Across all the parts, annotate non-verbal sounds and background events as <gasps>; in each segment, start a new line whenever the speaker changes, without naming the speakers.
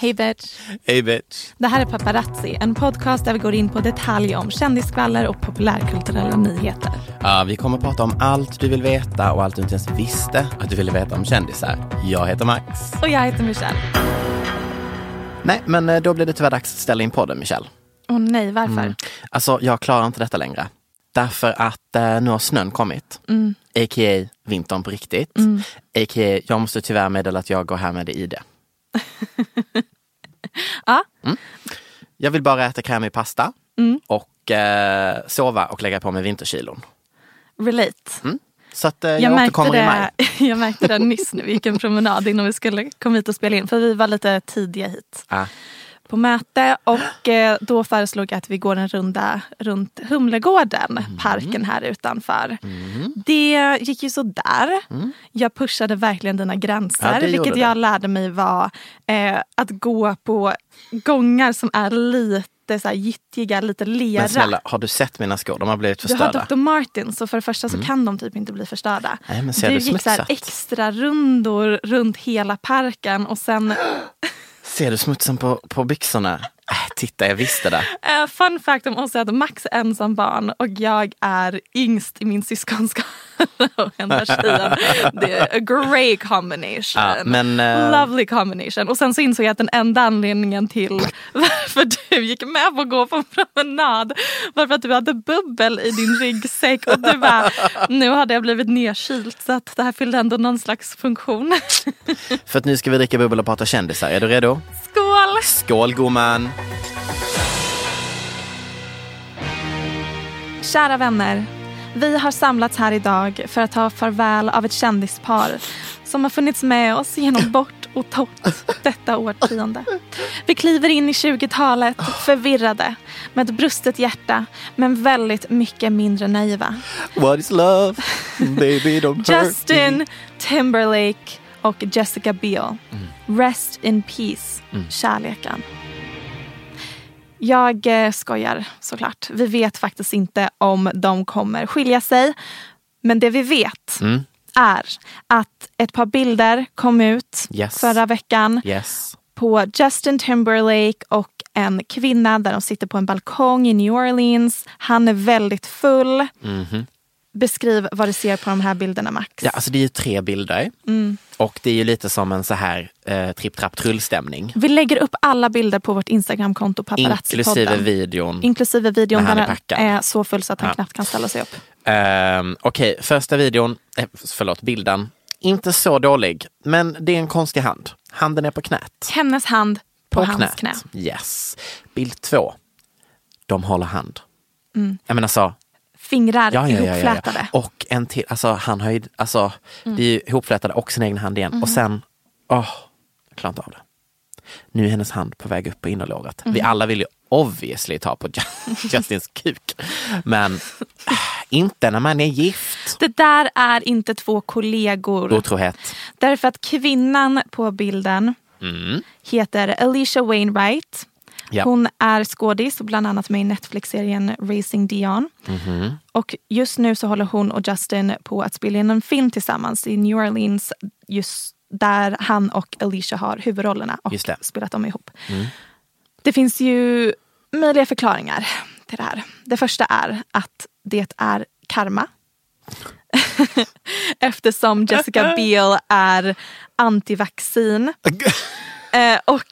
Hej bitch!
Hej bitch!
Det här är Paparazzi, en podcast där vi går in på detaljer om kändisskvaller och populärkulturella nyheter.
Ja, vi kommer att prata om allt du vill veta och allt du inte ens visste att du ville veta om kändisar. Jag heter Max.
Och jag heter Michelle.
Nej, men eh, då blir det tyvärr dags att ställa in podden, Michelle.
Åh oh, nej, varför? Mm.
Alltså, jag klarar inte detta längre. Därför att eh, nu har snön kommit. Mm. A.k.a. vintern på riktigt. Mm. A.k.a. jag måste tyvärr meddela att jag går här med det i <laughs> det.
ja.
Mm. Jag vill bara äta krämig pasta mm. och eh, sova och lägga på mig vinterkilon.
Relate.
Mm. Så att eh, jag, jag återkommer
det,
i maj.
<laughs> jag märkte det nyss när vi gick en promenad innan vi skulle komma hit och spela in. För vi var lite tidiga hit.
Ah.
På möte och eh, då föreslog jag att vi går en runda runt Humlegården,
Mm.
parken här utanför. Det gick ju sådär. Mm. Jag pushade verkligen dina gränser.
Ja,
vilket jag
det.
lärde mig var eh, att gå på gångar som är lite så här gyttjiga, lite lera.
Men snälla, har du sett mina skor? De har blivit förstörda.
Du har Dr. Martens och för det första så mm. kan de typ inte bli förstörda.
Nej, men ser
du
det
gick typ så här
smutsat?
extra rundor runt hela parken och sen...
Ser du smutsen på, på byxorna? Äh, titta, jag visste det.
Eh, fun fact om oss är att Max är ensam barn och jag är yngst i min syskonskara <laughs> och enda tjejen. Det är a great combination.
Ja, men, eh,
Lovely combination. Och sen så insåg jag att den enda anledningen till <laughs> varför du gick med på att gå på en promenad var för att du hade bubbel i din ryggsäck och du bara, nu hade jag blivit nedkyld så att det här fyllde ändå någon slags funktion. <laughs>
För att nu ska vi dricka bubbel och prata kändisar. Är du redo?
Skål!
Skål gumman!
Kära vänner, vi har samlats här idag för att ta farväl av ett kändispar som har funnits med oss genom bort och tott detta årtionde. Vi kliver in i 20-talet förvirrade, med ett brustet hjärta men väldigt mycket mindre naiva.
What is love? Baby don't hurt me.
Justin Timberlake och Jessica Biel.
Mm.
Rest in peace, kärleken. Jag eh, skojar såklart. Vi vet faktiskt inte om de kommer skilja sig. Men det vi vet
Mm.
är att ett par bilder kom ut
Yes.
förra veckan
Yes.
på Justin Timberlake och en kvinna där de sitter på en balkong i New Orleans. Han är väldigt full. Beskriv vad du ser på de här bilderna Max.
Mm-hmm. Ja, alltså det är ju tre bilder.
Mm.
Och det är ju lite som en så här eh, tripp trapp trull-stämning.
Vi lägger upp alla bilder på vårt Instagramkonto
Inklusive
paparazzi-podden.
videon.
Inklusive videon
När
där
han är
han
packad.
är så full så att han
Ja.
knappt kan ställa sig upp.
Ehm, Okej, första videon, eh, förlåt, bilden. Inte så dålig, men det är en konstig hand. Handen är på knät.
Hennes hand på, hans
knät.
knä.
Yes. Bild två. De håller hand.
Mm.
Jag menar så,
Fingrar
ja, ja, ja, ja, ja.
ihopflätade. Mm.
Och en till, alltså han har ju, alltså det är ju ihopflätade och sin egen hand igen.
Mhm.
Och sen, åh, jag klarar inte av det. Nu är hennes hand på väg upp på
Mhm. <laughs>
innerlåret. Vi alla vill ju obviously ta på Justins kuk. Men äh, Inte när man är gift.
Det där är inte två kollegor.
Otrohet.
Därför att kvinnan på bilden heter Alicia Wainwright.
Mm. Ja.
Hon är skådis och bland annat med i Netflix-serien Racing Dion. Och just nu så håller hon och Justin på att spela in en film tillsammans i New Orleans. Just där han och Alicia har huvudrollerna och
Just det. Mm.
spelat dem ihop. Det finns ju möjliga förklaringar till det här. Det första är att det är karma. <laughs> Eftersom
<laughs>
Jessica Biel är antivaccin eh, och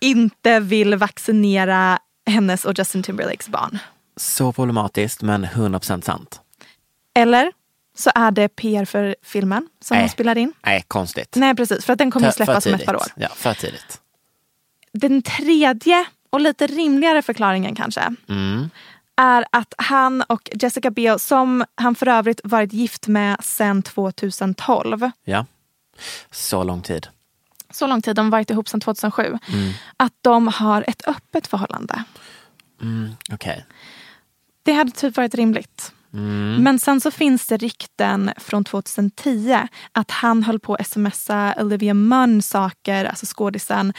inte vill vaccinera hennes och Justin Timberlakes barn.
Så problematiskt men 100% sant.
Eller så är det PR för filmen som hon
Nej.
spelar in.
Nej, konstigt.
Nej precis, för att den Mm. kommer att
För- för
släppas om ett par
tidigt.
år.
Ja, för tidigt.
Den tredje och lite rimligare förklaringen kanske
Mm.
är att han och Jessica Biel, som han för övrigt varit gift med sedan 2012,
Ja. Så lång tid.
så lång tid, de har varit ihop sedan 2007, att de har ett öppet förhållande.
Mm, Okej.
Det hade typ varit rimligt.
Mm.
Men sen så finns det rykten från 2010 att han höll på att smsa Olivia Munn saker, alltså skådisen,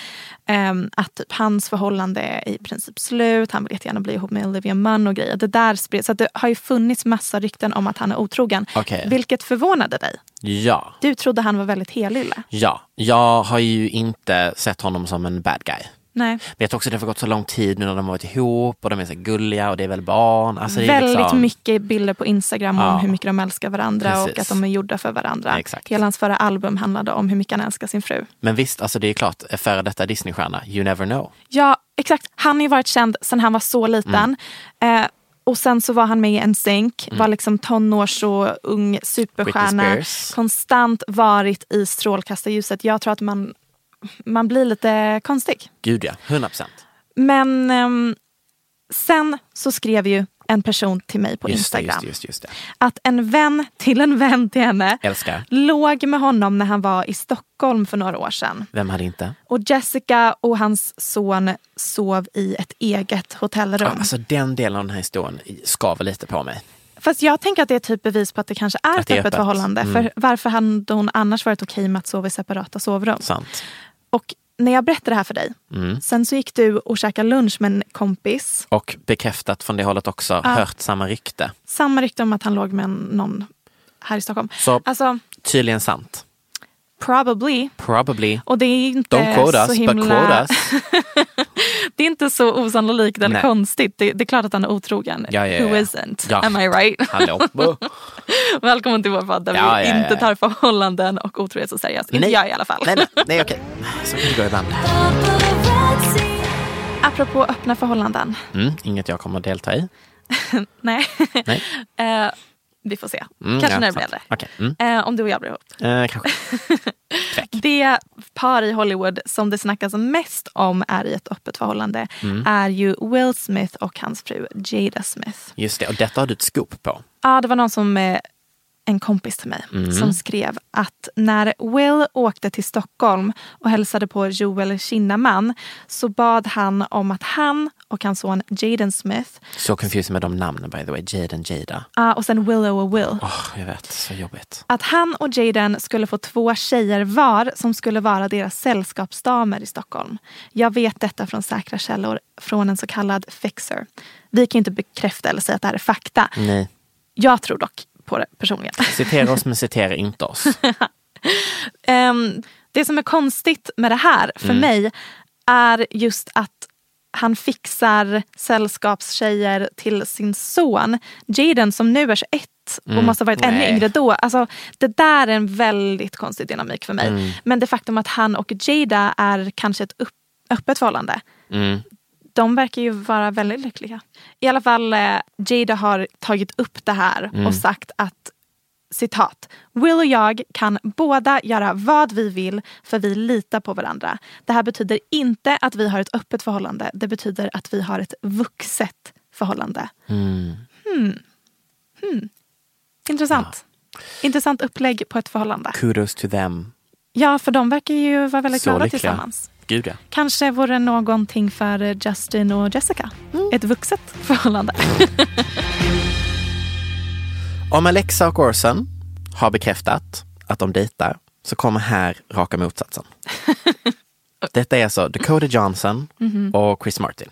ehm, att typ hans förhållande är i princip slut, han vill jättegärna bli ihop med Olivia Munn och grejer. Det där spreds, så att det har ju funnits massa rykten om att han är otrogen.
Okej.
Vilket förvånade dig.
Ja.
Du trodde han var väldigt helylle.
Ja. Jag har ju inte sett honom som en bad guy.
Nej.
Vet också att det har gått så lång tid nu när de har varit ihop och de är så gulliga och det är väl barn. Alltså, det är
Väldigt
liksom...
mycket bilder på Instagram om
Ja.
hur mycket de älskar varandra och
Precis.
att de är gjorda för varandra.
Exakt.
Hela hans förra album handlade om hur mycket han älskar sin fru.
Men visst, alltså det är klart, före detta Disneystjärna, you never know.
Ja, exakt. Han har ju varit känd sedan han var så liten.
Mm.
Eh, och sen så var han med i NSYNC, var liksom tonårs och ung superstjärna.
Britney Spears.
Konstant varit i strålkastarljuset. Jag tror att man, man blir lite konstig.
Gud ja, 100 procent.
Men ehm, sen så skrev ju en person till mig på
Just det,
Instagram
just det, just det, just det.
att en vän till en vän till henne
Älskar.
låg med honom när han var i Stockholm för några år sedan.
Vem hade inte?
Och Jessica och hans son sov i ett eget hotellrum.
Alltså den delen av den här historien skaver lite på mig.
Fast jag tänker att det är typ bevis på att det kanske är
Att
ett
det är
öppet
öppet. Mm.
förhållande. För varför hade hon annars varit okej med att sova i separata sovrum?
Sant. Mm.
Och när jag berättade det här för dig, sen så gick du och käkade lunch med en kompis.
Och bekräftat från det hållet också, hört samma rykte.
Samma rykte om att han låg med en- någon här i Stockholm.
Så-
Alltså,
Tydligen sant.
probably.
Probably.
Och det är inte
Don't quote
Eh, så
us,
himla...
but quote us.
<laughs> Det är inte så osannolikt eller
Nej.
konstigt. Det, det är klart att han är otrogen.
Ja, ja,
Who
ja.
isn't?
Ja.
Am I right? <laughs>
Hallå.
Välkommen till vår podd där
Ja,
vi
ja, ja,
inte
ja.
tar förhållanden och otrohet så seriöst. Inte jag i alla fall.
Nej, nej, nej okej. Så kan det gå ibland.
<laughs> Apropå öppna förhållanden.
Mm, inget jag kommer att delta i.
Nej.
Nej.
<laughs> Eh, vi får se.
Mm,
Kanske
ja,
när det
sant.
blir äldre.
Okej. Mm.
Eh, om du och jag blir ihop.
Eh, kanske.
Det par i Hollywood som det snackas mest om är i ett öppet förhållande
Mm.
är ju Will Smith och hans fru Jada Smith.
Just det, och detta har du ett scoop på.
Ja, det var någon som, eh, en kompis till mig, som skrev att när Will åkte till Stockholm och hälsade på Joel Kinnaman så bad han om att han och hans son Jaden Smith,
Så confusing med de namnen by the way. Jaden, Jada.
ja, och sen Willow och Will,
Åh, jag vet, så jobbigt.
att han och Jaden skulle få två tjejer var som skulle vara deras sällskapsdamer i Stockholm. Jag vet detta från säkra källor från en så kallad fixer. Vi kan ju inte bekräfta eller säga att det här är fakta.
Nej.
Jag tror dock på det personligen.
Citera oss men citera inte <laughs> oss.
Ehm, det som är konstigt med det här för mig är just att han fixar sällskapstjejer till sin son Jaden som nu är 21 och måste ha varit ännu
Nej.
yngre då. Alltså, det där är en väldigt konstig dynamik för mig. Men det faktum att han och Jada är kanske ett upp, öppet förhållande.
Mm.
De verkar ju vara väldigt lyckliga. I alla fall, eh, Jada har tagit upp det här
Mm.
och sagt att citat. Will och jag kan båda göra vad vi vill för vi litar på varandra. Det här betyder inte att vi har ett öppet förhållande. Det betyder att vi har ett vuxet förhållande. Hmm.
Mm.
Intressant. Intressant upplägg på ett förhållande.
Kudos to them.
Ja, för de verkar ju vara väldigt glada
så lyckliga.
tillsammans.
Gud ja.
Kanske vore någonting för eh, Mm. Justin och Jessica. Ett vuxet förhållande.
Om Alexa och Orson har bekräftat att de dejtar så kommer här raka motsatsen. Detta är alltså Dakota Johnson och Chris Martin.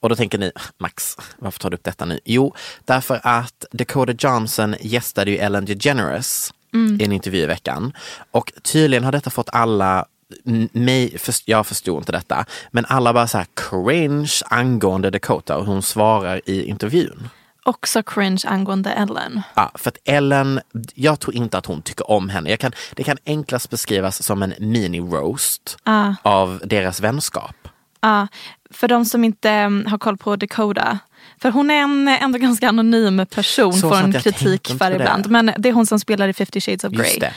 Och då tänker ni, Max, varför tar du upp detta nu? Jo, därför att Dakota Johnson gästade ju Ellen DeGeneres i en intervju i veckan. Och tydligen har detta fått alla m- mig, först- jag förstod inte detta, men alla bara så här cringe angående Dakota och hon svarar i intervjun.
<laughs> Också cringe angående Ellen.
Ja, för att Ellen, jag tror inte att hon tycker om henne. Jag kan, det kan enklast beskrivas som en mini-roast
Ah.
av deras vänskap.
Ja, Ah, för de som inte mm, har koll på Dakota. För hon är en eh, ändå ganska anonym person,
Så
får
sant,
en
jag tänkte
kritik
inte
för
på det.
ibland. Men det är hon som spelar i 50 shades of
Just
Grey.
det.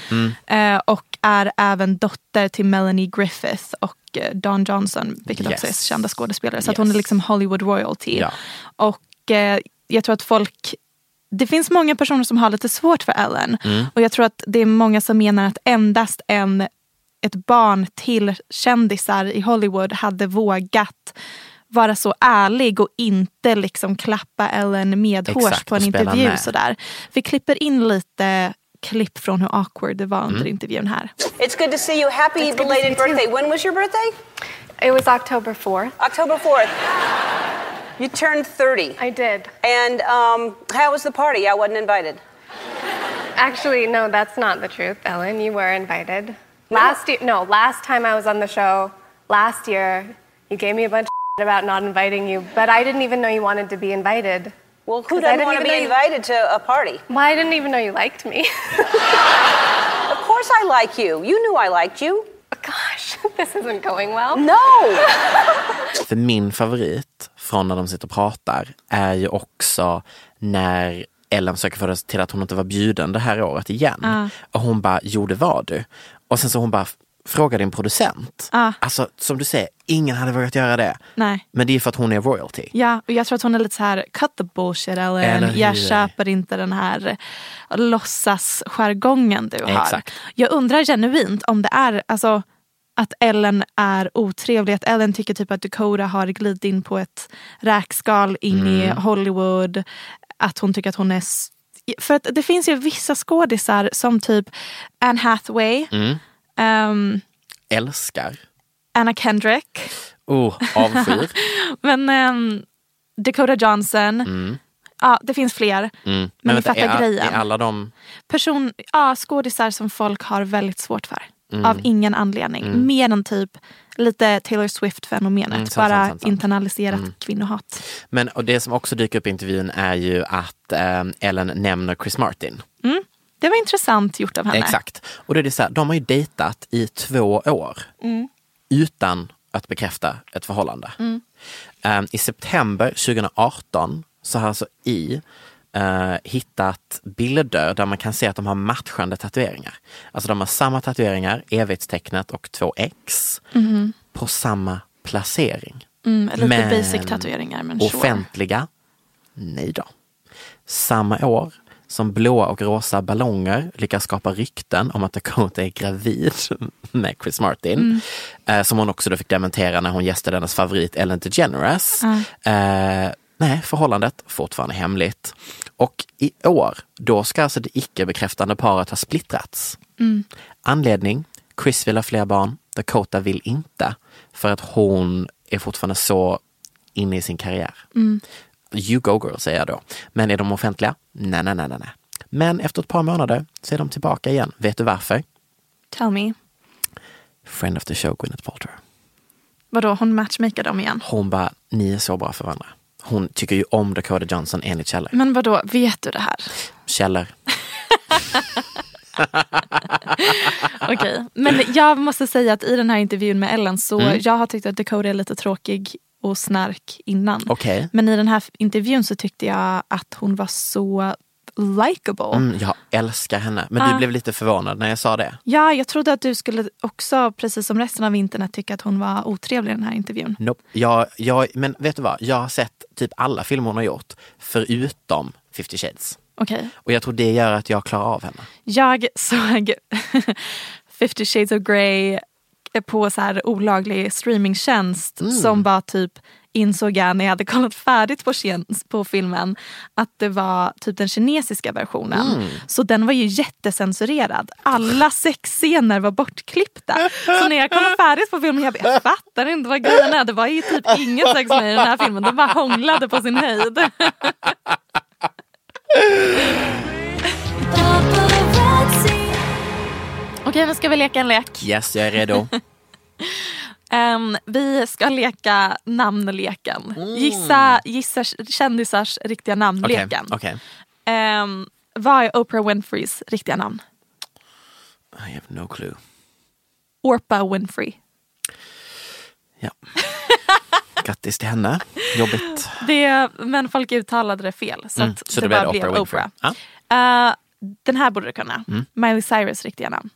Mm.
Eh, och är även dotter till Melanie Griffith och eh, Don Johnson, vilket också
Yes.
är kända skådespelare. Så att
Yes.
hon är liksom Hollywood royalty.
Ja.
Och eh, jag tror att folk det finns många personer som har lite svårt för Ellen.
Mm.
Och jag tror att det är många som menar att endast en, ett barn till kändisar i Hollywood hade vågat vara så ärlig och inte liksom klappa Ellen medhårs
Exakt,
på en
och spela
intervju.
med.
Sådär. Vi klipper in lite klipp från hur awkward det var under
Mm.
intervjun här.
It's good to see you. Happy belated birthday. When was your birthday?
It was October 4th.
October 4th. You turned 30.
I did.
And um, how was the party? I wasn't invited.
Actually, no, that's not the truth, Ellen. You were invited. Last year, no, last time I was on the show, last year, you gave me a bunch of about not inviting you, but I didn't even know you wanted to be invited.
Well, who
'Cause I
doesn't
didn't
want to
even
be
know you-
invited to a party?
Well, I didn't even know you liked me.
Of course I like you. You knew I liked you.
Gosh, this isn't going well.
No.
För min favorit från när de sitter och pratar är ju också när Ellen försöker få det till att hon inte var bjuden det här året igen.
Ah.
Och hon bara, jo det var du. Och sen så hon bara, fråga din producent.
Ah.
Alltså som du säger, ingen hade vågat göra det.
Nej.
Men det är för att hon är royalty.
Ja, och jag tror att hon är lite så här cut the bullshit Ellen.
Eller hur?
jag köper inte den här låtsasjargongen du har.
Exakt.
Jag undrar genuint om det är alltså, att Ellen är otrevlig. Att Ellen tycker typ att Dakota har glidit in på ett räkskal in i
Mm.
Hollywood. Att hon tycker att hon är... s- För att det finns ju vissa skådisar som typ Anne Hathaway,
Mm.
ehm,
Älskar.
Anna Kendrick.
Oh,
<laughs>
avskyr.
Men ehm, Dakota Johnson. Ja, det finns fler.
Mm.
Men ni
vänta,
fattar
är,
grejen.
Är alla de...
Person, ja, skådisar som folk har väldigt svårt för.
Mm.
Av ingen anledning. Mer än typ lite Taylor Swift-fenomenet.
Mm, sant,
Bara
sant, sant, sant.
internaliserat
Mm.
kvinnohat.
Men och det som också dyker upp i intervjun är ju att eh, Ellen nämner Chris Martin.
Det var intressant gjort av henne.
Exakt. Och då är det så här, de har ju dejtat i två år utan att bekräfta ett förhållande. Ehm, I september 2018 så har alltså I eh, hittat bilder där man kan se att de har matchande tatueringar. Alltså de har samma tatueringar, evighetstecknet och två X på samma placering.
Mm, lite
Men
basic tatueringar men sure.
Offentliga? Nej då. Samma år som blåa och rosa ballonger lyckas skapa rykten om att Dakota är gravid <laughs> med Chris Martin, eh, som hon också då fick dementera när hon gästade hennes favorit Ellen DeGeneres. Eh, nej, förhållandet fortfarande hemligt. Och i år, då ska alltså det icke-bekräftande paret ha splittrats. Anledning? Chris vill ha fler barn, Dakota vill inte. För att hon är fortfarande så inne i sin karriär. You go girl säger jag då. Men är de offentliga? Nej, nej, nej, nej. nej. Men efter ett par månader så är de tillbaka igen. Vet du varför?
Tell me.
Friend of the show Gwyneth Paltrow.
Vadå, hon matchmakar dem igen?
Hon bara, ni är så bra för varandra. Hon tycker ju om Dakota Johnson enligt källor.
Men vadå, vet du det här?
Källor.
Okej, men jag måste säga att i den här intervjun med Ellen så
Mm.
jag har tyckt att Dakota är lite tråkig och snark innan.
Okej.
Men i den här intervjun så tyckte jag att hon var så likable.
Mm, jag älskar henne. Men du blev lite förvånad när jag sa det.
Ja, jag trodde att du skulle också, precis som resten av internet, tycka att hon var otrevlig i den här intervjun.
Nope. Jag, jag, men vet du vad? Jag har sett typ alla filmer hon har gjort, förutom 50 shades.
Okej,
Och jag tror det gör att jag klarar av henne.
jag såg <laughs> 50 shades of Grey på så här olaglig streamingtjänst som var typ insåg jag när jag hade kollat färdigt på, ken- på filmen att det var typ den kinesiska versionen. Så den var ju jättecensurerad. Alla sexscener var bortklippta. Så när jag kollade färdigt på filmen jag, bara, jag fattar inte vad grejen är. Det var ju typ inget sex med i den här filmen. De bara hånglade på sin höjd. Okej, nu ska vi leka en lek.
Yes, jag är
<laughs>
redo.
Ehm, vi ska leka namnleken.
Mm.
Gissa, gissa kändisars riktiga
Okej.
namn-leken.
okej.
Ehm, vad är Oprah Winfreys riktiga namn?
I have no clue.
Orpa Winfrey.
Ja. Grattis till henne.
<laughs>
Jobbigt.
Det, men folk uttalade det fel. Så,
Mm,
att
så
det,
då blev
bara
det
blev
Oprah
Oprah.
Winfrey. Mm.
Eh, den här borde du kunna. Miley Cyrus riktiga namn.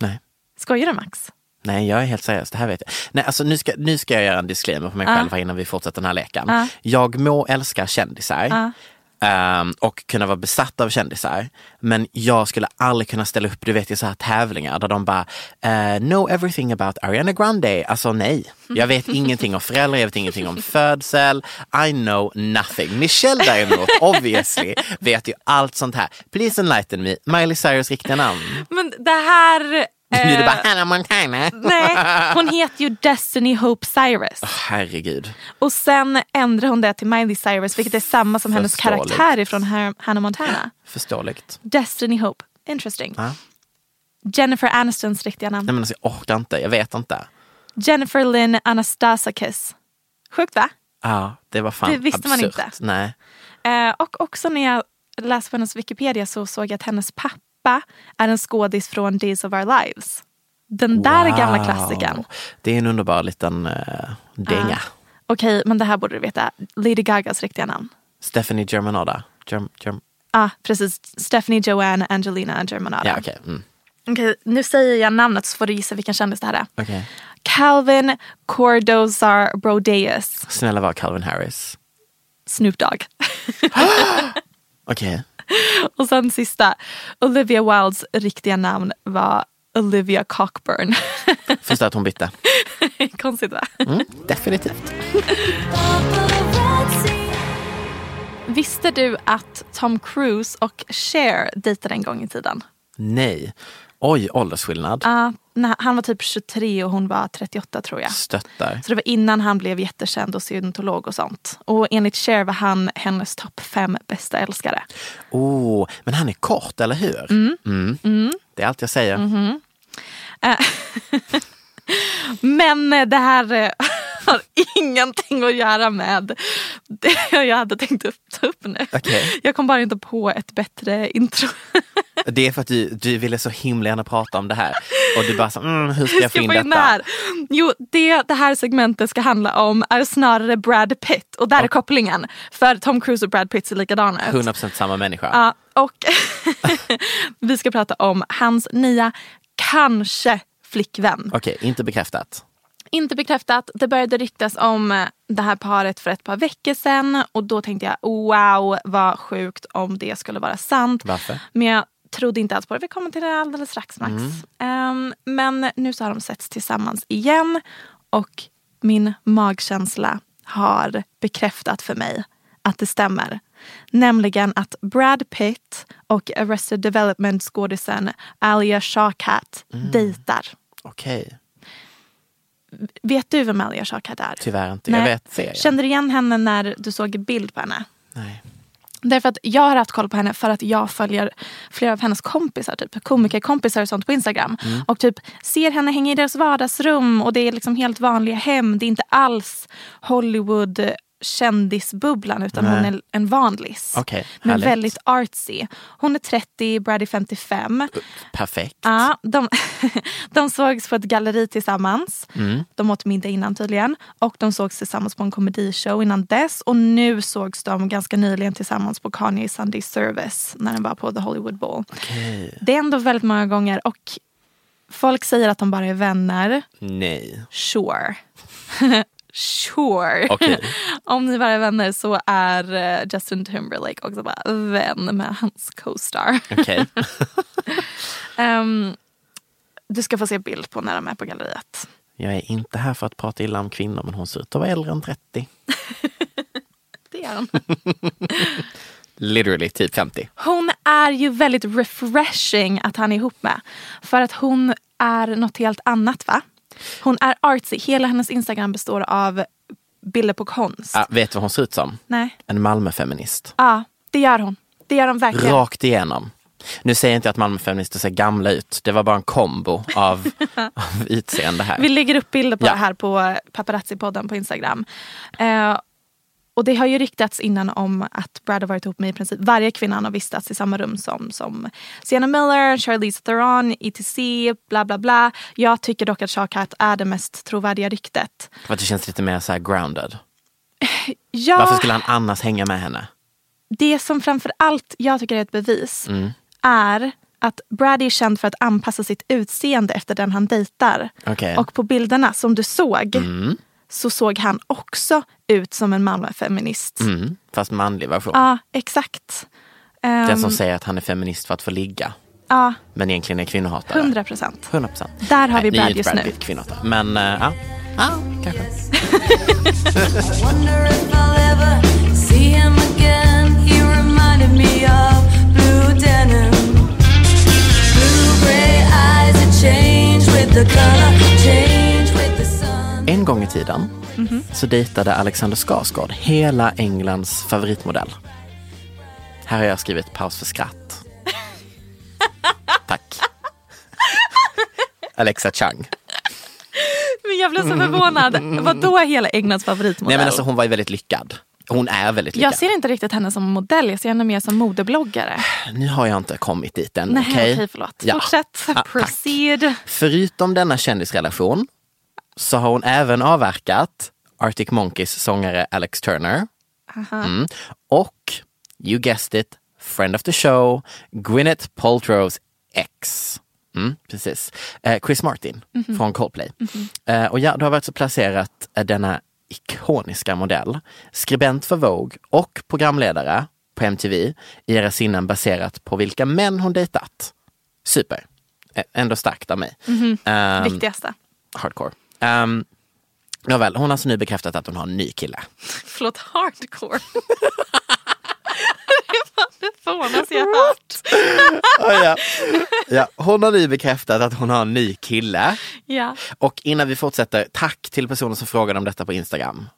Nej.
Skojar du Max?
Nej, jag är helt seriös. Det här vet jag. Nej, alltså, nu, ska, nu ska jag göra en disclaimer för mig själv här innan vi fortsätter den här leken. Jag må älska kändisar ehm, och kunna vara besatt av kändisar. Men jag skulle aldrig kunna ställa upp, du vet i så här tävlingar där de bara eh, know everything about Ariana Grande. Alltså nej, jag
<laughs>
vet ingenting om föräldrar, jag vet ingenting om födsel. I know nothing. Michelle
<laughs>
däremot, obviously, vet ju allt sånt här. Please enlighten me. Miley Cyrus riktiga namn.
Men det här...
Nu <laughs>
eh,
är det bara Hannah Montana.
nej, hon heter ju Destiny Hope Cyrus.
Herregud.
Och sen ändrar hon det till Miley Cyrus vilket är samma som hennes
Förståeligt.
karaktär ifrån Har- Hannah Montana.
Förståeligt.
Destiny Hope. Interesting.
Ja.
Jennifer Anistons riktiga namn.
Nej men alltså, jag orkar inte, jag vet inte.
Jennifer Lynn Anastasakis. Sjukt va?
Ja, det var fan
Det visste man
absurt.
inte.
Nej.
Eh, och också när jag läste på hennes Wikipedia så såg jag att hennes pappa är en skådis från Days of Our Lives. Den där
Wow.
gamla klassikern.
Det är en underbar liten eh, dänga.
Okej, men det här borde du veta. Lady Gagas riktiga namn.
Stephanie Germanoda. Germ, germ.
Ah, precis. Stephanie Joanne Angelina Germanata.
Ja, okej. Mm.
Okej, nu säger jag namnet så får du gissa vilken kändis det här är.
Okej.
Calvin Cordozar Brodeus.
Snälla var Calvin Harris.
Snoop Dogg. <laughs>
Okej.
Och sen sista, Olivia Wildes riktiga namn var Olivia Cockburn. <laughs>
Förstår att hon bytte.
Konstigt va?
Definitivt.
Visste du att Tom Cruise och Cher dejtade en gång i tiden?
Nej. Oj, åldersskillnad.
Ja, när han var typ 23 och hon var 38 tror jag.
Stöttar.
Så det var innan han blev jättekänd och scientolog och sånt. Och enligt Cher var han hennes topp fem bästa älskare.
Oh, men han är kort, eller hur? Mm. Det är allt jag säger.
Mm-hmm. Men eh, det här eh, <laughs> har ingenting att göra med det <laughs> jag hade tänkt upp- ta upp nu.
Okej.
Jag kom bara inte på ett bättre intro.
Det är för att du, du ville så himla gärna prata om det här. Och du bara, så, mm, hur ska jag få in
få
detta?
in det här? Jo, det, det här segmentet ska handla om är snarare Brad Pitt. Och där är kopplingen. För Tom Cruise och Brad Pitt ser likadana ut.
100% samma människa.
Ja, och <laughs> vi ska prata om hans nya kanske flickvän.
Okej, inte bekräftat.
Inte bekräftat. Det började ryktas om eh, det här paret för ett par veckor sedan. Och då tänkte jag wow vad sjukt om det skulle vara sant.
Varför?
Men jag trodde inte alls på det. Vi kommer till det alldeles strax Max. Ehm, men nu så har de setts tillsammans igen. Och min magkänsla har bekräftat för mig att det stämmer. Nämligen att Brad Pitt och Arrested Development skådisen Alia Shawkat dejtar.
Okej,
Vet du vem Alia Shawkat är?
tyvärr inte. Jag
Nej.
vet serien.
Kände du igen henne när du såg bild på henne?
Nej.
Därför att jag har haft koll på henne för att jag följer flera av hennes kompisar, typ komikerkompisar och sånt på Instagram.
Mm.
Och typ ser henne hänga i deras vardagsrum och det är liksom helt vanliga hem. Det är inte alls Hollywood eh, kändisbubblan utan hon är en vanlis.
Okej,
men
härligt.
väldigt artsy. Hon är 30, Brad är 55.
Perfekt.
Ja, de, <laughs> de sågs på ett galleri tillsammans. De åt middag innan tydligen. Och de sågs tillsammans på en komedishow innan dess. Och nu sågs de ganska nyligen tillsammans på Kanye Sunday Service när den var på The Hollywood Bowl. Det är ändå väldigt många gånger och folk säger att de bara är vänner.
Nej.
Sure. <laughs> sure. <laughs>
Okej.
Om ni bara är vänner så är eh, Justin Timberlake också bara vän med hans co-star.
Okej.
Ehm, du ska få se bild på när de är på galleriet.
Jag är inte här för att prata illa om kvinnor, men hon ser ut att vara äldre än 30.
Det är hon.
Literally, typ 50.
<laughs> Hon är ju väldigt refreshing att han är ihop med. För att hon är något helt annat va? Hon är artsy. Hela hennes Instagram består av bilder på konst.
Ah, vet du vad hon ser ut som?
Nej.
En Malmöfeminist.
Ja, det gör hon. Det gör hon verkligen.
Rakt igenom. Nu säger jag inte att Malmöfeminister ser gamla ut. Det var bara en kombo
<laughs>
av, av utseende här.
Vi lägger upp bilder på
Ja.
det här på Paparazzi-podden på Instagram. Eh, och det har ju ryktats innan om att Brad har varit ihop med i princip varje kvinna han har vistats i samma rum som. Som Sienna Miller, Charlize Theron, ETC, bla bla bla. Jag tycker dock att Shawkat är det mest trovärdiga ryktet.
För att det känns lite mer så här grounded.
Ja,
Varför skulle han annars hänga med henne?
Det som framför allt jag tycker är ett bevis
Mm.
är att Brad är känd för att anpassa sitt utseende efter den han dejtar.
Okej. Mm.
Och på bilderna som du såg så såg han också ut som en Malmöfeminist.
Mm, fast manlig version.
Ja, exakt. Ehm,
Den som säger att han är feminist för att få ligga.
Ja,
Men egentligen är kvinnohatare.
100 procent.
100 procent.
Där har vi
ni är
Brad
inte
just nu.
Pitt, kvinnohatare. Men eh, ja. ja, kanske.
Wonder if I'll ever see him again. He reminded me of blue denim. Blue gray eyes that change with the color, change with the sun.
En gång i tiden
Mhm.
så dejtade Alexander Skarsgård hela Englands favoritmodell. Här har jag skrivit paus för skratt. Tack. Alexa Chang.
Men jag blev så förvånad. Vadå hela Englands favoritmodell?
Nej men alltså hon var ju väldigt lyckad. Hon är väldigt lyckad.
jag ser inte riktigt henne som modell, jag ser henne mer som modebloggare.
Nu har jag inte kommit dit än.
Nej,
okej?
okej, förlåt.
Ja.
Fortsätt.
Ah, tack.
Proceed.
Förutom denna kändisrelation så har hon även avverkat Arctic Monkeys sångare Alex Turner. Mm. Och, you guessed it, friend of the show, Gwyneth Paltrows ex. Mm, precis. Eh, Chris Martin från Coldplay. Eh, och ja, du har vi alltså placerat eh, denna ikoniska modell, skribent för Vogue och programledare på MTV i era sinnen baserat på vilka män hon dejtat. Super. Ä- Ändå starkt av mig. Ehm,
Viktigaste.
hardcore. Ehm, nåväl, hon har alltså nu bekräftat att hon har en ny kille.
Förlåt, hardcore. <laughs> det var det fånigaste jag hört.
ja. hon har nu bekräftat att hon har en ny kille.
Ja.
Och innan vi fortsätter, tack till personer som frågade om detta på Instagram.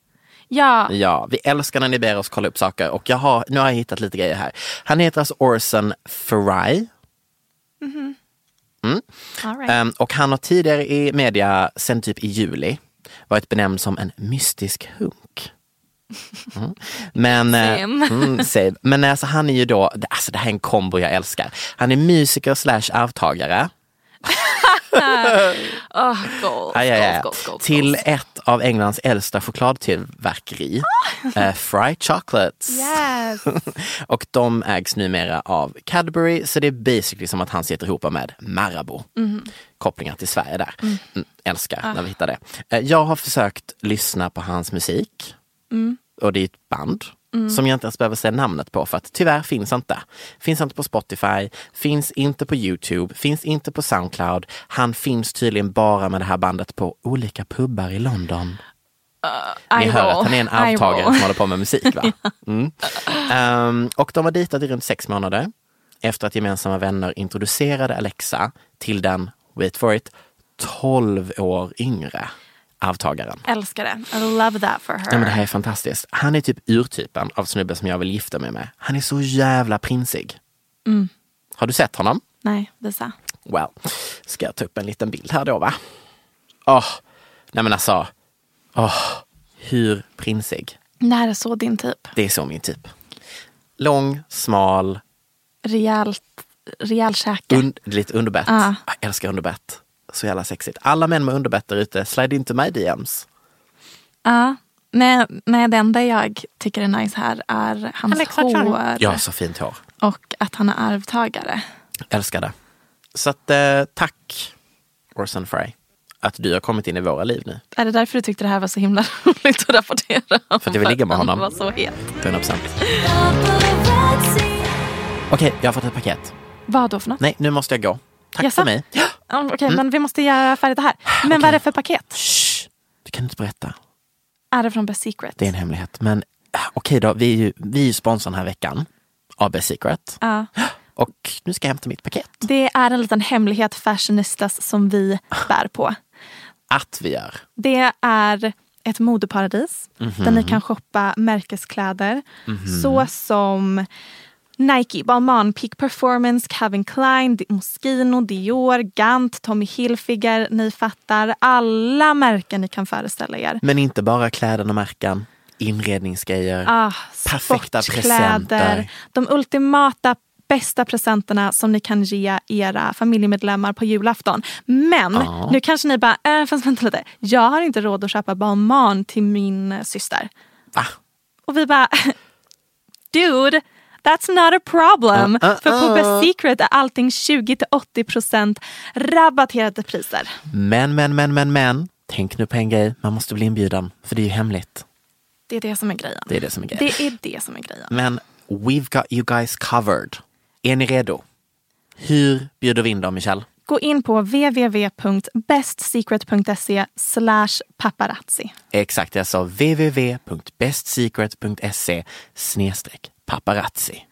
Ja.
Ja, vi älskar när ni ber oss kolla upp saker och jag har, nu har jag hittat lite grejer här. Han heter alltså Orson Fry
All right.
Ehm, och han har tidigare i media, sen typ i juli, varit benämnd som en mystisk
<laughs>
hunk. Mm. Men, eh,
Same.
mm, same. Men alltså, han är ju då, alltså det här är en kombo jag älskar. Han är musiker slash arvtagare.
Oh,
Äh,
goals,
Aj, aj, aj.
goals, goals, goals,
Till
goals.
ett av Englands äldsta chokladtillverkeri, eh, Fry Chocolates.
Ah! <laughs> Yes.
<laughs> Och de ägs numera av Cadbury, så det är basically som att han sitter ihop med Marabou. Kopplingar till Sverige där. Mm, älskar när vi hittar det. Eh, Jag har försökt lyssna på hans musik. Och det är ett band som jag inte ens behöver säga namnet på för att tyvärr finns inte. Finns inte på Spotify, finns inte på Youtube, finns inte på Soundcloud. Han finns tydligen bara med det här bandet på olika pubbar i London. Ni
I
hör
will.
att han är en
I
arvtagare
will.
som håller på med musik.
<laughs>
Va? Mm. Ehm, och de var dejtat i runt sex månader efter att gemensamma vänner introducerade Alexa till den, wait for it, 12 år yngre arvtagaren.
Älskar det. I love that for her.
Ja, men det här är fantastiskt. Han är typ urtypen av snubben som jag vill gifta mig med. Han är så jävla prinsig.
Mm.
Har du sett honom?
Nej, visa.
Well, ska jag ta upp en liten bild här då va? Åh, nej men alltså. Åh, hur prinsig.
När är så din typ?
Det är så min typ. Lång, smal,
Rejält, rejäl käke.
un- lite underbett.
Ja.
Jag älskar underbett. Så jävla sexigt. Alla män med underbett där ute, slide inte mig DMs.
Ja. Nej, nej, det enda jag tycker är nice här är hans hår
Ja, så fint hår.
och att han är arvtagare.
Älskar det. Så att, eh, tack Orson Fry. Att du har kommit in i våra liv nu.
Är det därför du tyckte det här var så himla <laughs> roligt att rapportera om?
För att jag vill ligga med
han
honom.
var så het.
100%.
Paparazzi.
Okej, jag har fått ett paket.
Vad då för något?
Nej, nu måste jag gå. Tack
Jaså?
för mig. Mm.
Ja, Okej, men vi måste göra färdigt det här. Men vad är det för paket?
Shh, du kan inte berätta.
Är det från Best Secret?
Det är en hemlighet. Men äh, okej då, vi är ju, vi är ju sponsorn den här veckan av Best Secret.
Ja.
<gasps> Och nu ska jag hämta mitt paket.
Det är en liten hemlighet fashionistas som vi bär på.
Att vi gör.
Det är ett modeparadis där
Mhm.
ni kan shoppa märkeskläder så som Nike, Balmain, Peak Performance, Calvin Klein, Di- Moschino, Dior, Gant, Tommy Hilfiger. Ni fattar, alla märken ni kan föreställa er.
Men inte bara kläderna och märken, inredningsgrejer.
Ah,
Perfekta
sportkläder.
presenter.
De ultimata bästa presenterna som ni kan ge era familjemedlemmar på julafton. Men nu kanske ni bara, äh, fast vänta lite. Jag har inte råd att köpa Balmain till min eh, syster.
Va?
Och vi bara, <laughs> dude. That's not a problem.
Uh,
För på Best Secret är allting 20-80% rabatterade priser.
Men, men, men, men, men. Tänk nu på en grej, man måste bli inbjuden. För det är ju hemligt.
Det är det som är grejen.
Det är det som är grejen.
Det är det som är grejen.
Men we've got you guys covered. Är ni redo? Hur bjuder vi in dem, Michelle?
Gå in på www.bestsecret.se paparazzi.
Exakt, det är alltså www.bestsecret.se snedstreck paparazzi.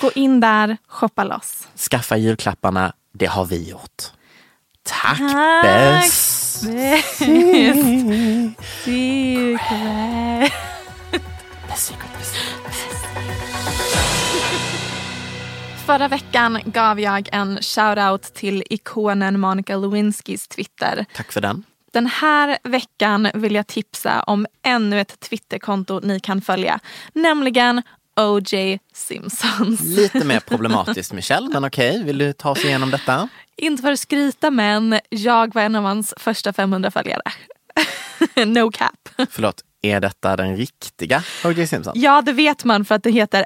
Gå in där, shoppa loss.
Skaffa julklapparna, det har vi gjort. Tack,
Tack,
Bess! Best Secret, Best Secret.
Förra veckan gav jag en shoutout till ikonen Monica Lewinskys Twitter.
Tack för den.
Den här veckan vill jag tipsa om ännu ett Twitterkonto ni kan följa. Nämligen OJ Simpsons.
Lite mer problematiskt, Michelle, men okej, vill du ta oss igenom detta?
Inte för att skryta men jag var en av hans första 500 följare. <laughs> no cap.
Förlåt, är detta den riktiga O.J. Simpson?
Ja, det vet man för att det heter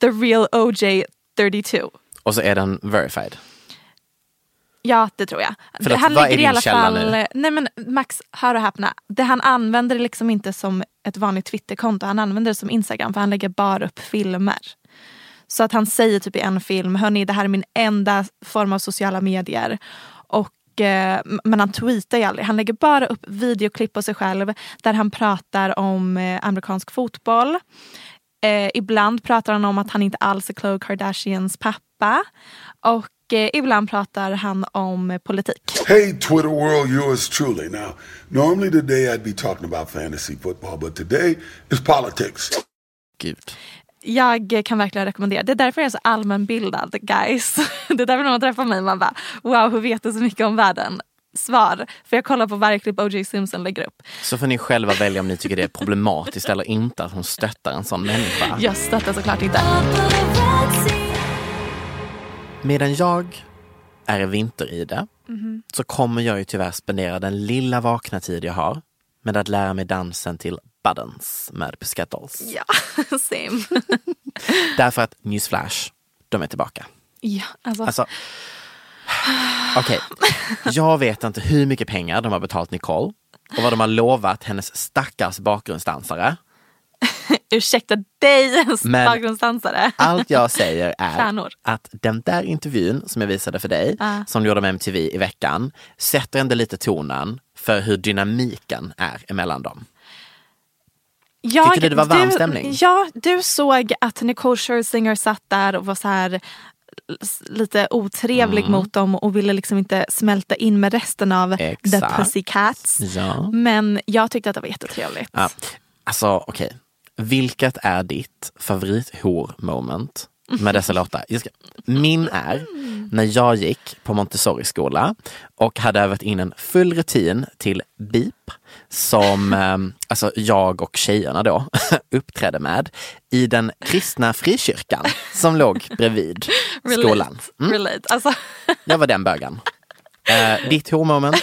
The Real OJ 32.
Och så är den verified.
Ja, det tror jag.
Förlåt,
han
vad är
ligger i
din
alla
källa
fall...
nu?
Nej men Max, hör och häpna. Det han använder det liksom inte som ett vanligt Twitterkonto. Han använder det som Instagram för han lägger bara upp filmer. Så att han säger typ i en film, hörni det här är min enda form av sociala medier. Och, eh, men han tweetar ju aldrig. Han lägger bara upp videoklipp på sig själv där han pratar om eh, amerikansk fotboll. Eh, ibland pratar han om att han inte alls är Khloe Kardashians pappa. Och eh, ibland pratar han om eh, politik.
Hey, Twitter world, yours truly. Now, normally today I'd be talking about fantasy football, but today is politics.
Gud.
Jag eh, kan verkligen rekommendera. Det är därför jag är så allmänbildad guys. <laughs> Det är därför när man träffar mig man bara wow hur vet du så mycket om världen? Svar, för jag kollar på varje klipp O.J. Simpson lägger upp.
Så får ni själva välja om ni tycker det är problematiskt eller inte att hon stöttar en sån människa.
Jag stöttar såklart inte. <laughs>
Medan jag är i vinter i det så kommer jag ju tyvärr spendera den lilla vakna tid jag har med att lära mig dansen till Buttons med Pussycat Dolls.
Ja, same.
Därför att newsflash, de är tillbaka.
Ja, alltså,
Alltså, okej. Jag vet inte hur mycket pengar de har betalat Nicole och vad de har lovat hennes stackars bakgrundsdansare.
ursäkta dig
Men- Ah,
bakgrundsdansare.
Allt jag säger är
Stjärnor.
att den där intervjun som jag visade för dig, som du gjorde med MTV i veckan, sätter ändå lite tonen för hur dynamiken är emellan dem.
Jag,
Tyckte du det var varm stämning?
Ja, du såg att Nicole Scherzinger satt där och var så här s- lite otrevlig
Mm.
mot dem och ville liksom inte smälta in med resten av The
Exakt.
Pussycats.
Ja.
Men jag tyckte att det var jättetrevligt.
Ja. Alltså okej, vilket är ditt favorithor-moment med dessa låtar? Jag ska... Min är när jag gick på Montessori-skola och hade övat in en full rutin till BIP som ehm, alltså jag och tjejerna då <laughs> uppträdde med i den kristna frikyrkan som låg bredvid
Relate,
skolan.
Relate. Alltså, <laughs>
Jag var den bögen. Eh, ditt hor-moment?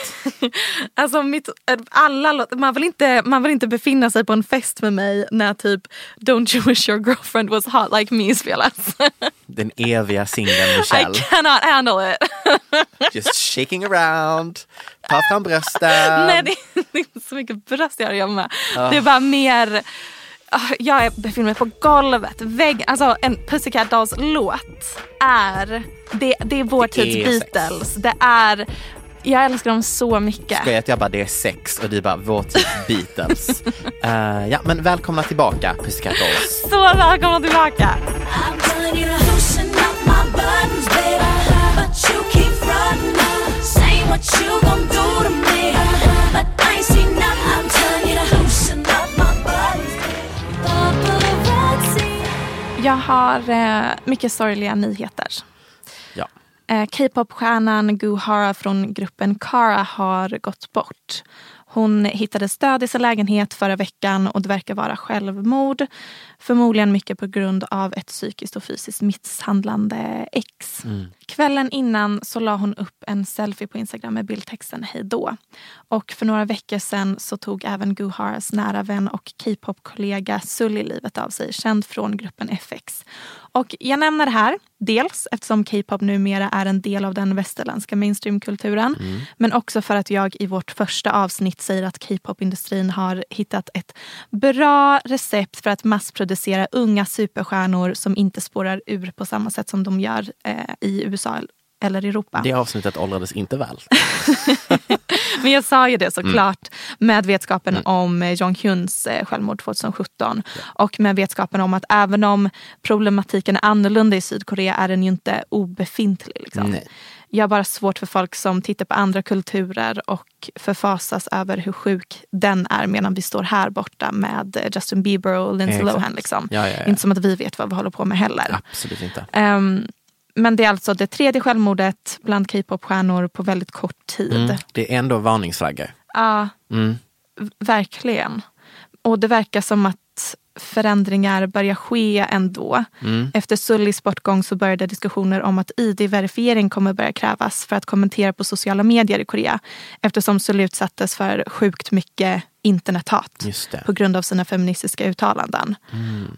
alltså mitt, alla, låt- man, vill inte, man vill inte befinna sig på en fest med mig när typ Don't you wish your girlfriend was hot like me spelas. <laughs>
Den eviga singeln Michelle.
I cannot handle it.
Um. Just shaking around, ta fram brösten.
<laughs>
Ah.
Nej, det är, det är inte så mycket bröst jag har att göra med. Det är bara mer Ah, Jag är- befinner mig på golvet, vägg, alltså en Pussycat Dolls låt är, det, det är vår tids
är sex.
Beatles. Det är, jag älskar dem så mycket.
Jag vet, jag bara det är sex och du bara vår tids Beatles. Eh, ja men välkomna tillbaka Pussycat Dolls.
Så välkomna tillbaka.
I'm telling you to loosen up my buttons, baby. But you keep frontin'. Say what you gon' do to me. But I ain't seen nothing. I'm telling you to loosen up my buttons, baby. Paparazzi.
Jag har eh, mycket sorgliga nyheter.
Ja.
Eh, K-popstjärnan Guhara från gruppen Kara har gått bort. Hon hittades död i sin lägenhet förra veckan och det verkar vara självmord. Förmodligen mycket på grund av ett psykiskt och fysiskt misshandlande ex. Kvällen innan så la hon upp en selfie på Instagram med bildtexten Hej då. Och för några veckor sedan så tog även Guharas nära vän och K-pop-kollega Sully livet av sig, känd från gruppen FX. Och jag nämner det här, dels eftersom K-pop numera är en del av den västerländska mainstreamkulturen, men också för att jag i vårt första avsnitt säger att K-pop-industrin har hittat ett bra recept för att massproducera unga superstjärnor som inte spårar ur på samma sätt som de gör eh, i USA eller Europa.
Det avsnittet åldrades inte väl.
Men jag sa
Mm.
ju det såklart med vetskapen om eh, Jong Hyuns eh, självmord 2017. Och med vetskapen om att även om problematiken är annorlunda i Sydkorea är den ju inte obefintlig. Liksom.
Nej.
Jag har bara svårt för folk som tittar på andra kulturer och förfasas över hur sjuk den är medan vi står här borta med eh, Justin Bieber och Lindsay
Exakt.
Lohan. Liksom.
Ja, ja, ja.
Inte som att vi vet vad vi håller på med heller.
Absolut inte.
Ehm, men det är alltså det tredje självmordet bland K-pop-stjärnor på väldigt kort tid.
Mm, det är ändå varningsflaggor.
Ja,
Mm.
v- verkligen. Och det verkar som att förändringar börjar ske ändå.
Mm.
Efter Sullys bortgång så började diskussioner om att id-verifiering kommer börja krävas för att kommentera på sociala medier i Korea. Eftersom Sully utsattes för sjukt mycket internethat
Just det.
på grund av sina feministiska uttalanden.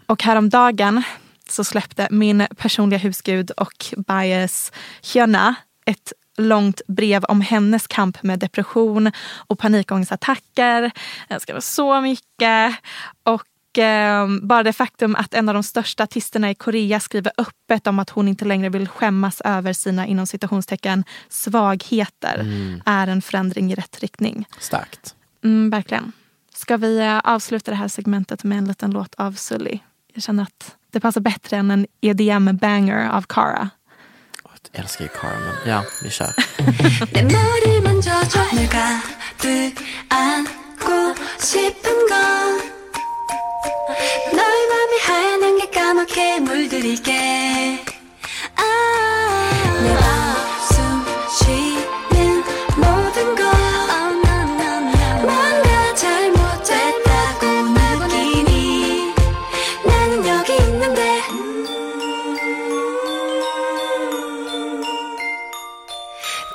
Och häromdagen så släppte min personliga husgud och bias Hyuna ett långt brev om hennes kamp med depression och panikångestattacker. Jag skrev så mycket. Och eh, bara det faktum att en av de största artisterna i Korea skriver öppet om att hon inte längre vill skämmas över sina inom citationstecken svagheter är en förändring i rätt riktning.
Starkt.
Mm, verkligen. Ska vi eh, avsluta det här segmentet med en liten låt av Sully? Jag känner att det passar bättre än en EDM-banger av Cara.
Jag älskar ju Carmen. Ja, vi kör.
내 머리 만져줘 늘 가득 안고 싶은 건 널 맘이 하얀 게 까맣게 물들이게 아내 숨 쉬는 모든 것 뭔가 잘못됐다고 느끼니 나는 여기 있는데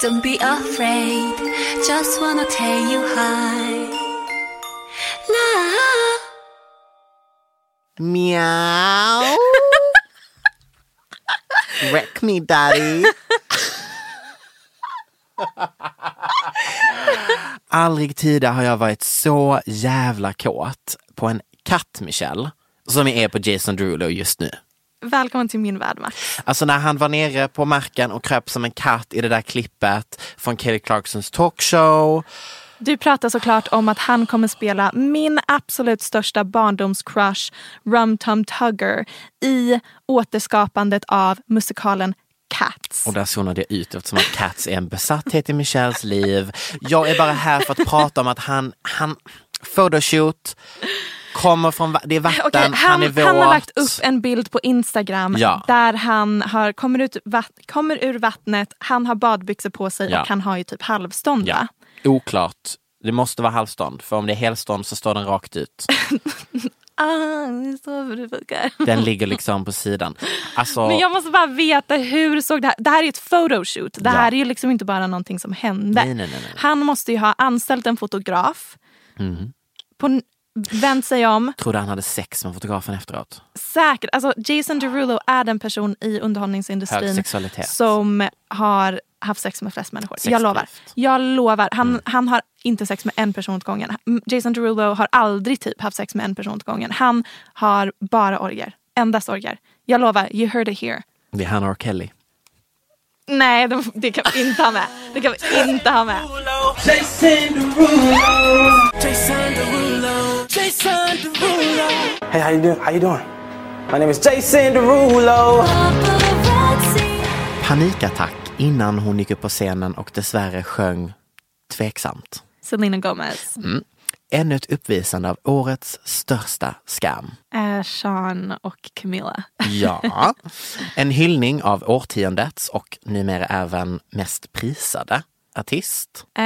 Don't be afraid, just wanna tell you hi. Now.
Meow. Wreck me daddy. Aldrig tidigare har jag varit så jävla kåt på en katt Michelle som är på Jason Derulo just nu.
Välkommen till min värld, Max.
Alltså när han var nere på marken och kröp som en katt i det där klippet från Kelly Clarksons talkshow.
Du pratar såklart om att han kommer spela min absolut största barndomscrush, Rum Tum Tugger, i återskapandet av musikalen Cats.
Och där zonade jag ut eftersom att Cats är en besatthet i Michelles liv. Jag är bara här för att prata om att han, han, photoshoot, kommer från, va- det är vatten,
Okej,
han,
han,
är våt.
han har lagt upp en bild på Instagram
Ja.
där han har, kommer, ut vatt, kommer ur vattnet, han har badbyxor på sig
Ja.
och han har ju typ halvstånd.
Ja,
va?
oklart. Det måste vara halvstånd, för om det är helstånd så står den rakt ut.
Ah, det är så det funkar.
Den ligger liksom på sidan. Alltså,
Men jag måste bara veta hur såg det här... Det här är ett photoshoot. Det här
Ja.
är ju liksom inte bara någonting som hände.
Nej, nej, Mhm. nej, nej.
Han måste ju ha anställt en fotograf, på, vänt sig om,
trodde han hade sex med fotografen efteråt.
säkert. Alltså Jason Derulo är den person i underhållningsindustrin
Hög sexualitet.
som har haft sex med flest människor.
Sex
jag lovar.
gift.
Jag lovar. Han,
Mm.
han har inte sex med en person åt gången. Mm, Jason Derulo har aldrig typ haft sex med en person åt gången. Han har bara orger. Endast orger. Jag lovar. You heard it here.
Det är Hanna och Kelly.
Nej, det, det kan vi inte ha med. Det kan vi inte ha med.
Hey, how you doing? How you doing? My name is Jason Derulo.
Panikattack innan hon gick upp på scenen och dessvärre sjöng tveksamt.
Selena Gomez
Ännu ett uppvisande av årets största skam.
är Eh, Sean och Camilla.
Ja. En hyllning av årtiondets och numera även mest prisade artist.
Eh,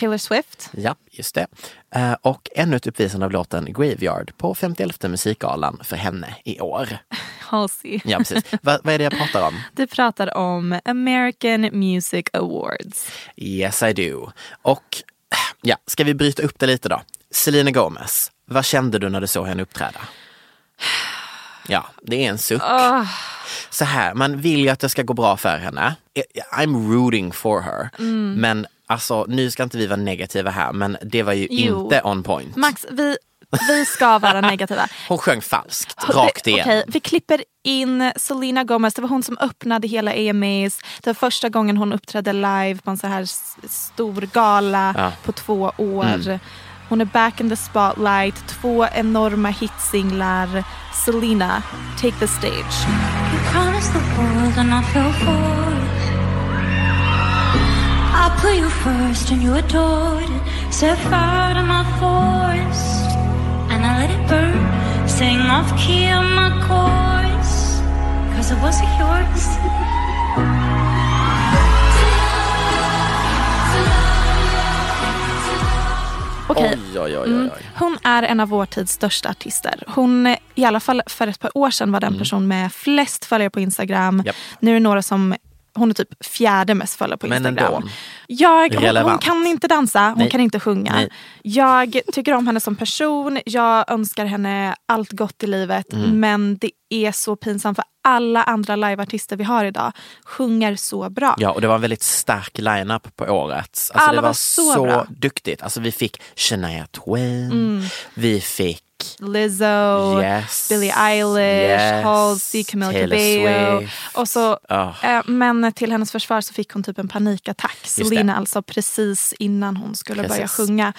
Taylor Swift.
Ja, just det. Eh, Och ännu ett uppvisande av låten Graveyard på 51 musikgalan för henne i år.
Halsey.
Ja, precis. Va, vad är det jag pratar om?
Du pratar om American Music Awards.
Yes I do. Och äh, ja, ska vi bryta upp det lite då? Selena Gomez, vad kände du när du såg henne uppträda? Ja, det är en suck.
Ah.
Så här, man vill ju att det ska gå bra för henne. I- I'm rooting for her.
Mm.
Men alltså, nu ska inte vi vara negativa här, men det var ju
Jo.
inte on point.
Max, vi, vi ska vara negativa.
Hon sjöng falskt, rakt
Vi-
igen.
Okej, vi klipper in Selena Gomez. Det var hon som öppnade hela EMAs. Det var första gången hon uppträdde live på en så här s- stor gala
Ja. Mm.
på två år. Hon är back in the spotlight. Två enorma hitsinglar. Selena, take the stage.
You promised the world and I fell for it. I put you first and you adored it. Set fire to my forest and I let it burn. Sang off key on my chorus, cause it wasn't yours.
Okej, Mm.
Oj, oj, oj, oj, oj.
Hon är en av vår tids största artister. Hon, eh, i alla fall för ett par år sedan, var den person med flest följare på Instagram.
Mm. Japp.
Nu är det några som hon är typ fjärde mest följare på
Men
Instagram.
ändå.
Jag, hon, hon
Relevant.
kan inte dansa, hon
Nej.
kan inte sjunga.
Nej.
Jag tycker om henne som person, jag önskar henne allt gott i livet.
Mm.
Men det är så pinsamt för alla andra liveartister vi har idag sjunger så bra.
Ja, och det var en väldigt stark line-up på årets. Alltså,
Alla
det
var
var,
så
så,
bra. Mm.
duktigt. Alltså, vi fick Shania Twain, vi fick
Lizzo,
Yes.
Billie Eilish,
Yes.
Halsey, Camila
Taylor
Cabello.
Swift.
Och så,
Ah.
eh, men till hennes försvar så fick hon typ en panikattack.
det.
Selena alltså precis innan hon skulle börja
Precis.
sjunga.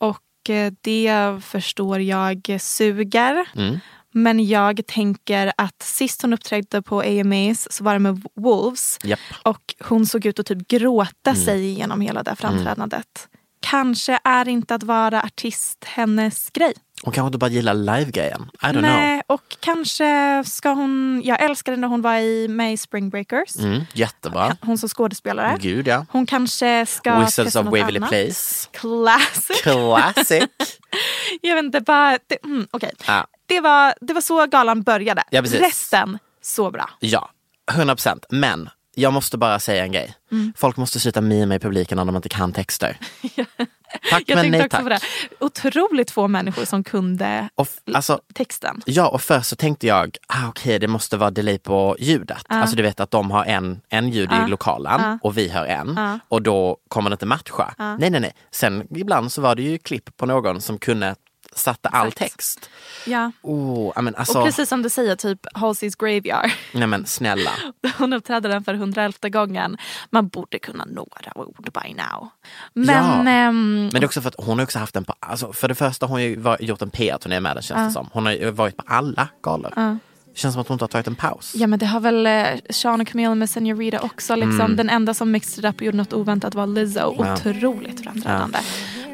Och eh, det förstår jag suger.
Mm.
Men jag tänker att sist hon uppträdde på AMAs så var det med Wolves.
Japp. Mm.
Och hon såg ut att typ gråta sig igenom hela det framträdandet. Kanske är inte att vara artist hennes grej.
Hon kanske inte bara gillar live-grejen. I don't
Nej, och kanske ska hon... Jag älskade när hon var i, med i Spring Breakers.
know. Mm, jättebra.
Hon som skådespelare.
Gud ja.
Hon kanske ska
Wizards
testa
of
något
Waverly
annat.
Place.
Classic.
Classic. <laughs>
jag vet inte, bara... Det, mm, okej.
Ja.
det, var, det var så galan började.
Ja, precis.
Resten, så bra.
ja, 100 procent. Men jag måste bara säga en grej.
Mm.
Folk måste sluta mima i publiken när de inte kan texter. Tack
Jag
men
tänkte
nej
också
tack.
på det. Otroligt få människor som kunde
Och f- alltså,
texten.
Ja, och först så tänkte jag, ah, okej det måste vara delay på ljudet. Alltså du vet att de har en, en ljud i lokalen och vi hör en och då kommer det inte matcha. Nej, nej, nej. Sen ibland så var det ju klipp på någon som kunde sätta all
Exakt.
text.
Ja.
Oh, ja, men alltså,
Och precis som du säger, typ Halsey's Graveyard.
nej men snälla.
Hon uppträdde den för hundraelfte gången. Man borde kunna några ord by now. Men
Ja.
ehm,
Men det är också för att hon har också haft en, på- alltså, för det första har hon ju var- gjort en PR-turné med den känns det som. Hon har ju varit på alla galor. Känns som att hon inte har tagit en paus.
Ja men det har väl eh, Sean och Camille med Senorita också. Liksom. Den enda som mixed it up och gjorde något oväntat var Lizzo. Otroligt framträdande.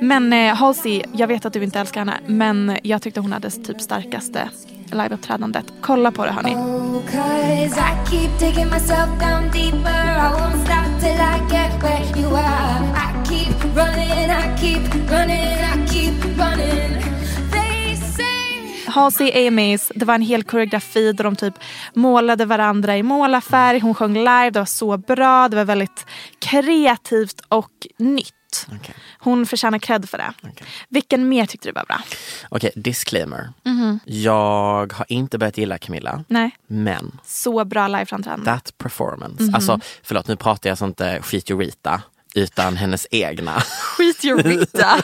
Men eh, Halsey, jag vet att du inte älskar henne. Men jag tyckte hon hade typ starkaste liveuppträdandet. Kolla på det hörni.
Oh, Cause I keep digging myself down deeper. I won't stop till I get where you are. I keep running, I keep running, I keep running. They say.
Halsey AMAs, det var en hel koreografi där de typ målade varandra i målarfärg. Hon sjöng live, det var så bra. Det var väldigt kreativt och nytt. gott. Hon förtjänar cred för det. Vilken mer tyckte du var bra?
Okej, disclaimer.
Mhm.
Jag har inte börjat gilla Camilla,
Nej,
men
så bra liveframträdande.
that performance. Alltså, förlåt, nu pratar jag så inte skit Rita utan hennes egna.
Skit your Rita.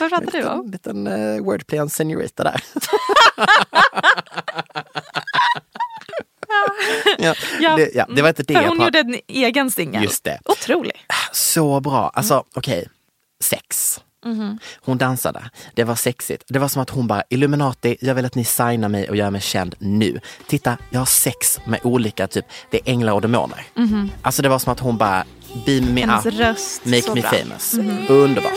Vad pratar du om?
En <laughs> liten eh, wordplay om senorita <laughs> där. ja,
Ja,
det, ja, det var inte det
För
jag
hon
pratade
gjorde en egen singel.
Just det.
Otrolig.
Så bra. Alltså okej, sex. Hon dansade. Det var sexigt. Det var som att hon bara, Illuminati, jag vill att ni signar mig och gör mig känd nu. Titta, jag har sex med olika, typ, det är änglar och demoner. Alltså det var som att hon bara, beam me
Hennes
up,
röst,
make
så
me
bra. Mm-hmm.
famous. Underbart.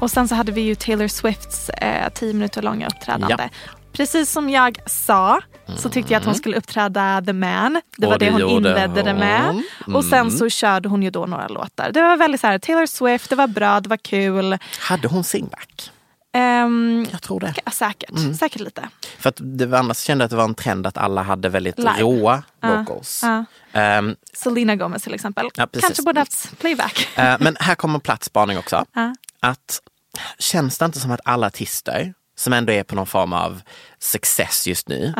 Och sen så hade vi ju Taylor Swifts eh, tio minuter långa uppträdande.
Ja.
Precis som jag sa så tyckte jag att hon skulle uppträda The Man. Det
Och
var det,
det
hon
gjorde Mm.
inledde det med. Och sen så körde hon ju då några låtar. Det var väldigt så här, Taylor Swift, det var bra, det var kul.
Hade hon singback?
Ehm,
Jag tror det.
ja, säkert,
Mm.
säkert lite.
För att det, var- annars kände jag att det var en trend att alla hade väldigt
Live.
råa vocals.
ja.
Ehm,
Selena Gomez till exempel.
Ja, precis.
Kanske borde haft playback.
Eh, men här kommer platsspaning också.
Ja.
Att känns det inte som att alla artister som ändå är på någon form av success just nu,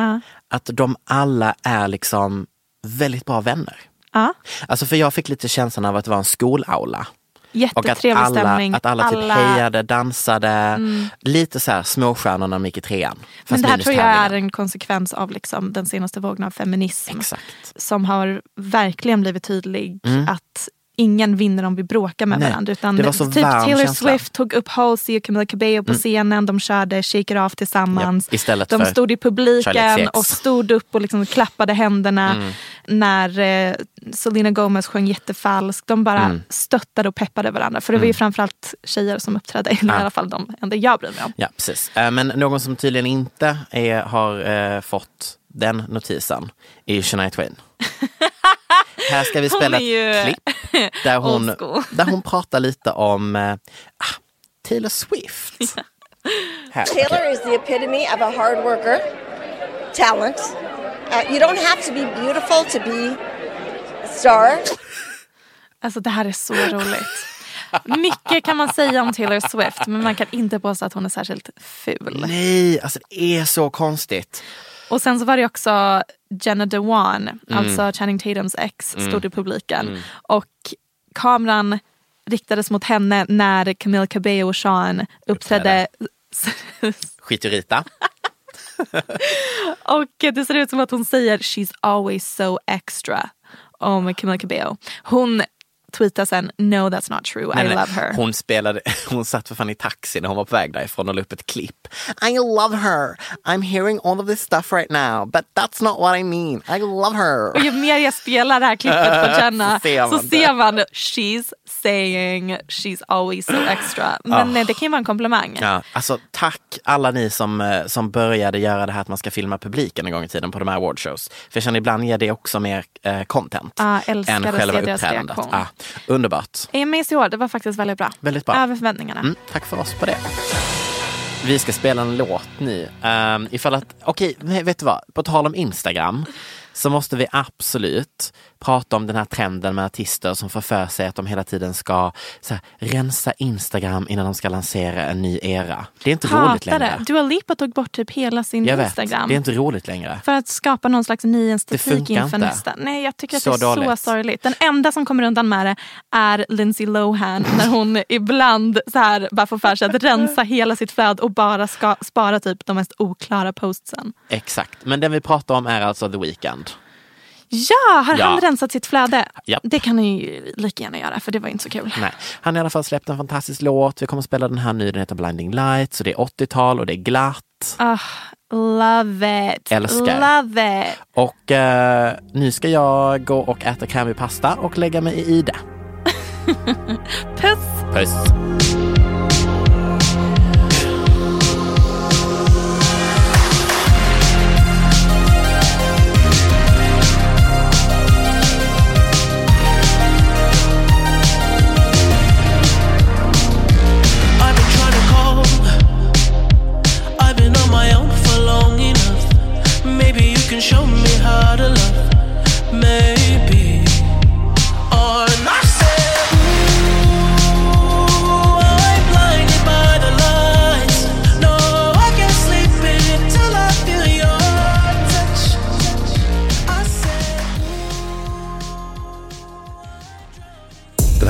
att de alla är liksom väldigt bra vänner.
Ja.
Alltså för jag fick lite känslan av att det var en skolaula. Och att
Jättetrevlig
alla,
stämning. Mm.
att alla typ hejade, dansade, lite så här småstjärnorna de gick i trean. fast
Men det här
minus
tror jag är
tävlingen.
en konsekvens av liksom den senaste vågen av feminism.
Exakt.
Som har verkligen blivit tydlig att ingen vinner om vi bråkar med
Mm. Nej,
varandra. Utan
det var så
typ
varm
Taylor
känsla.
Swift tog upp Halsey och Camila Cabello på scenen. De körde Shake It Off tillsammans.
Japp, istället
de
för
stod i
Charlie
publiken
XCX.
och stod upp och liksom klappade händerna
Mm.
när eh, Selena Gomez sjöng jättefalskt. De bara
Mm.
stöttade och peppade varandra. För det var ju framförallt tjejer som uppträdde. Eller i alla fall de enda jag bryr mig om.
Ja, precis. Eh, Men någon som tydligen inte är, har eh, fått den notisen är ju Shania
<laughs>
Twain. Här ska vi
Hon
spela
är ju
ett klipp där hon,
old school.
där hon pratar lite om eh, ah, Taylor Swift. Här,
Taylor
okej.
is the epitome of a hard worker, talent. Uh, you don't have to be beautiful to be a star.
Alltså det här är så roligt. Mycket kan man säga om Taylor Swift men man kan inte påstå att hon är särskilt ful.
Nej, alltså det är så konstigt.
Och sen så var det också Jenna Dewan,
Mm.
alltså Channing Tatums ex, stod i publiken. Och kameran riktades mot henne när Camille Cabello och Sean uppträdde.
Skit i Rita.
<laughs> Och det ser ut som att hon säger “She's always so extra” om Camille Cabello. Hon tweetar sen “No that's not true, I
Nej, nej,
love her”.
Hon, spelade, <laughs> hon satt för fan i taxi när hon var på väg därifrån och la upp ett klipp. I love her. I'm hearing all of this stuff right now. But that's not what I mean. I love her.
Och ju mer jag spelar det här klippet på
<laughs> Så
Jenna
ser man
så
det.
ser man she's saying she's always so extra. Men eh, det kan ju vara en komplimang.
Ah. Ja, alltså tack alla ni som, eh, som började göra det här att man ska filma publiken en gång i tiden på de här awardshows. För jag känner ibland ger det också mer eh, content
Ja, älskar
än
att se
själva
deras
uppträdandet.
reaktion.
Ja, underbart.
Emmys Eh, i år, det var faktiskt väldigt bra.
Väldigt bra.
Över förväntningarna.
Mm, tack för oss på det. Vi ska spela en låt nu. Um, ifall att, okej, nej, vet du vad? På tal om Instagram så måste vi absolut prata om den här trenden med artister som får för sig att de hela tiden ska så här, rensa Instagram innan de ska lansera en ny era. Det är inte roligt
Hatar
längre.
det. Dua Lipa tog bort typ hela sin
Jag vet,
Instagram.
det är inte roligt längre.
För att skapa någon slags ny estetik
funkar
inför
inte.
nästa. Nej, jag tycker att
Så
det är
dåligt.
så sorgligt. Den enda som kommer undan med det är Lindsay Lohan <laughs> när hon ibland så här bara får för sig att rensa hela sitt flöde och bara ska spara typ de mest oklara postsen.
Exakt, men den vi pratar om är alltså The Weeknd.
Ja, har
Ja.
han rensat sitt flöde?
Japp.
Det kan han ju lika gärna göra för det var ju inte så kul.
Nej. Han har i alla fall släppt en fantastisk låt. Vi kommer att spela den här nu. Den heter Blinding Lights och det är 80-tal och det är glatt.
Ah, love it.
Älskar.
Love it.
Och eh, nu ska jag gå och äta krämig pasta och lägga mig i det.
<laughs> Puss!
Puss!
I've been trying to call
Den